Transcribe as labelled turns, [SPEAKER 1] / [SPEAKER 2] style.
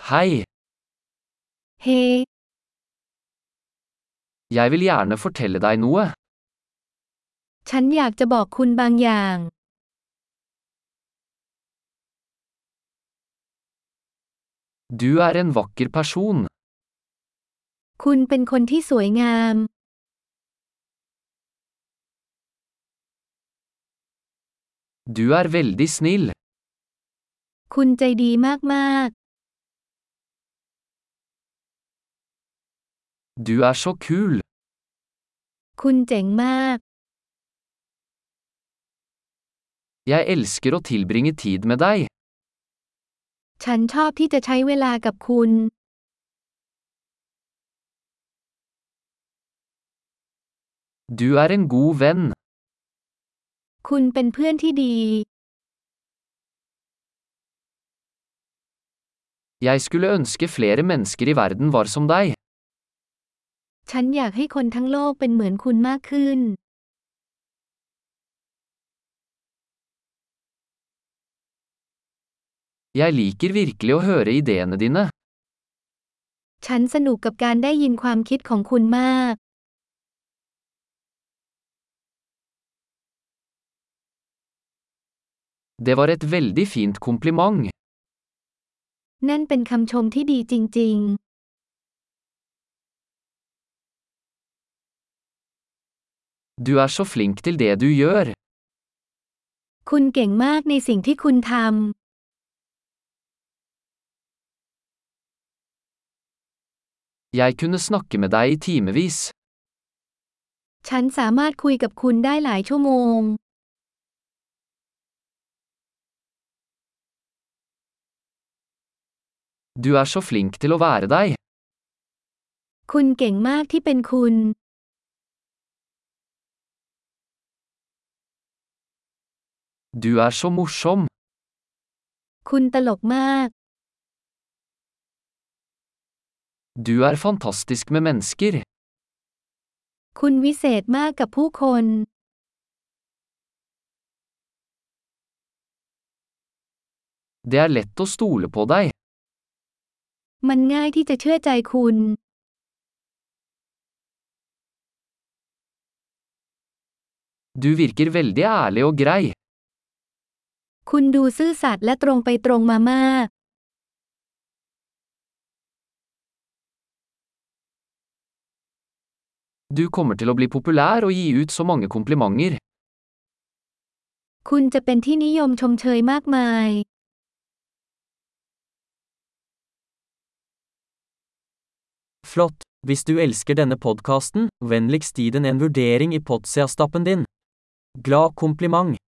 [SPEAKER 1] Hei,
[SPEAKER 2] Hei,
[SPEAKER 1] jeg vil gjerne fortelle deg noe.
[SPEAKER 2] ฉันอยากจะบอกคุณบางอย่าง
[SPEAKER 1] Du er en vakker person.
[SPEAKER 2] คุณเป็นคนที่สวยงาม
[SPEAKER 1] Du er veldig snill.
[SPEAKER 2] คุณใจดีมาก
[SPEAKER 1] Du er så kul.
[SPEAKER 2] ๆ คุณเจ๋งมาก
[SPEAKER 1] Jeg elsker å tilbringe tid med deg.
[SPEAKER 2] ฉันชอบที่จะใช้เวลากับคุณ
[SPEAKER 1] Du er en god venn.
[SPEAKER 2] คุณเป็นเพื่อนที่ดี
[SPEAKER 1] Jeg skulle ønske flere mennesker i verden var som deg.
[SPEAKER 2] ฉันอยากให้คนทั้งโลกเป็นเหมือนคุณมากขึ้น
[SPEAKER 1] Jeg liker virkelig å høre ideene dine.
[SPEAKER 2] ฉันสนุกกับการได้ยินความคิดของคุณมาก
[SPEAKER 1] Det var et veldig fint kompliment.
[SPEAKER 2] นั่นเป็นคำชมที่ดีจริง
[SPEAKER 1] Du er så flink til det du gjør.
[SPEAKER 2] ๆ คุณเก่งมากในสิ่งที่คุณทำ
[SPEAKER 1] Jeg kunne snakke med deg i timevis.
[SPEAKER 2] ฉันสามารถคุยกับคุณได้หลายชั่วโมง
[SPEAKER 1] Du er så flink til å være deg.
[SPEAKER 2] คุณเก่งมากที่เป็นคุณ
[SPEAKER 1] Du er så morsom.
[SPEAKER 2] คุณตลกมาก
[SPEAKER 1] Du er fantastisk med mennesker.
[SPEAKER 2] คุณวิเศษมากกับผู้คน
[SPEAKER 1] Det er lett å stole på deg.
[SPEAKER 2] มันง่ายที่จะเชื่อใจคุณ
[SPEAKER 1] Du virker veldig ærlig og grei.
[SPEAKER 2] คุณดูซื่อสัตย์และตรงไปตรงมามาก
[SPEAKER 1] Du kommer til å bli populær og gi ut så mange komplimenter.
[SPEAKER 2] คุณจะเป็นที่นิยมชมเชยมากมาย
[SPEAKER 1] Flott! Hvis du elsker denne podkasten, vennligst gi den en vurdering i Potsia-stappen din. Glad kompliment!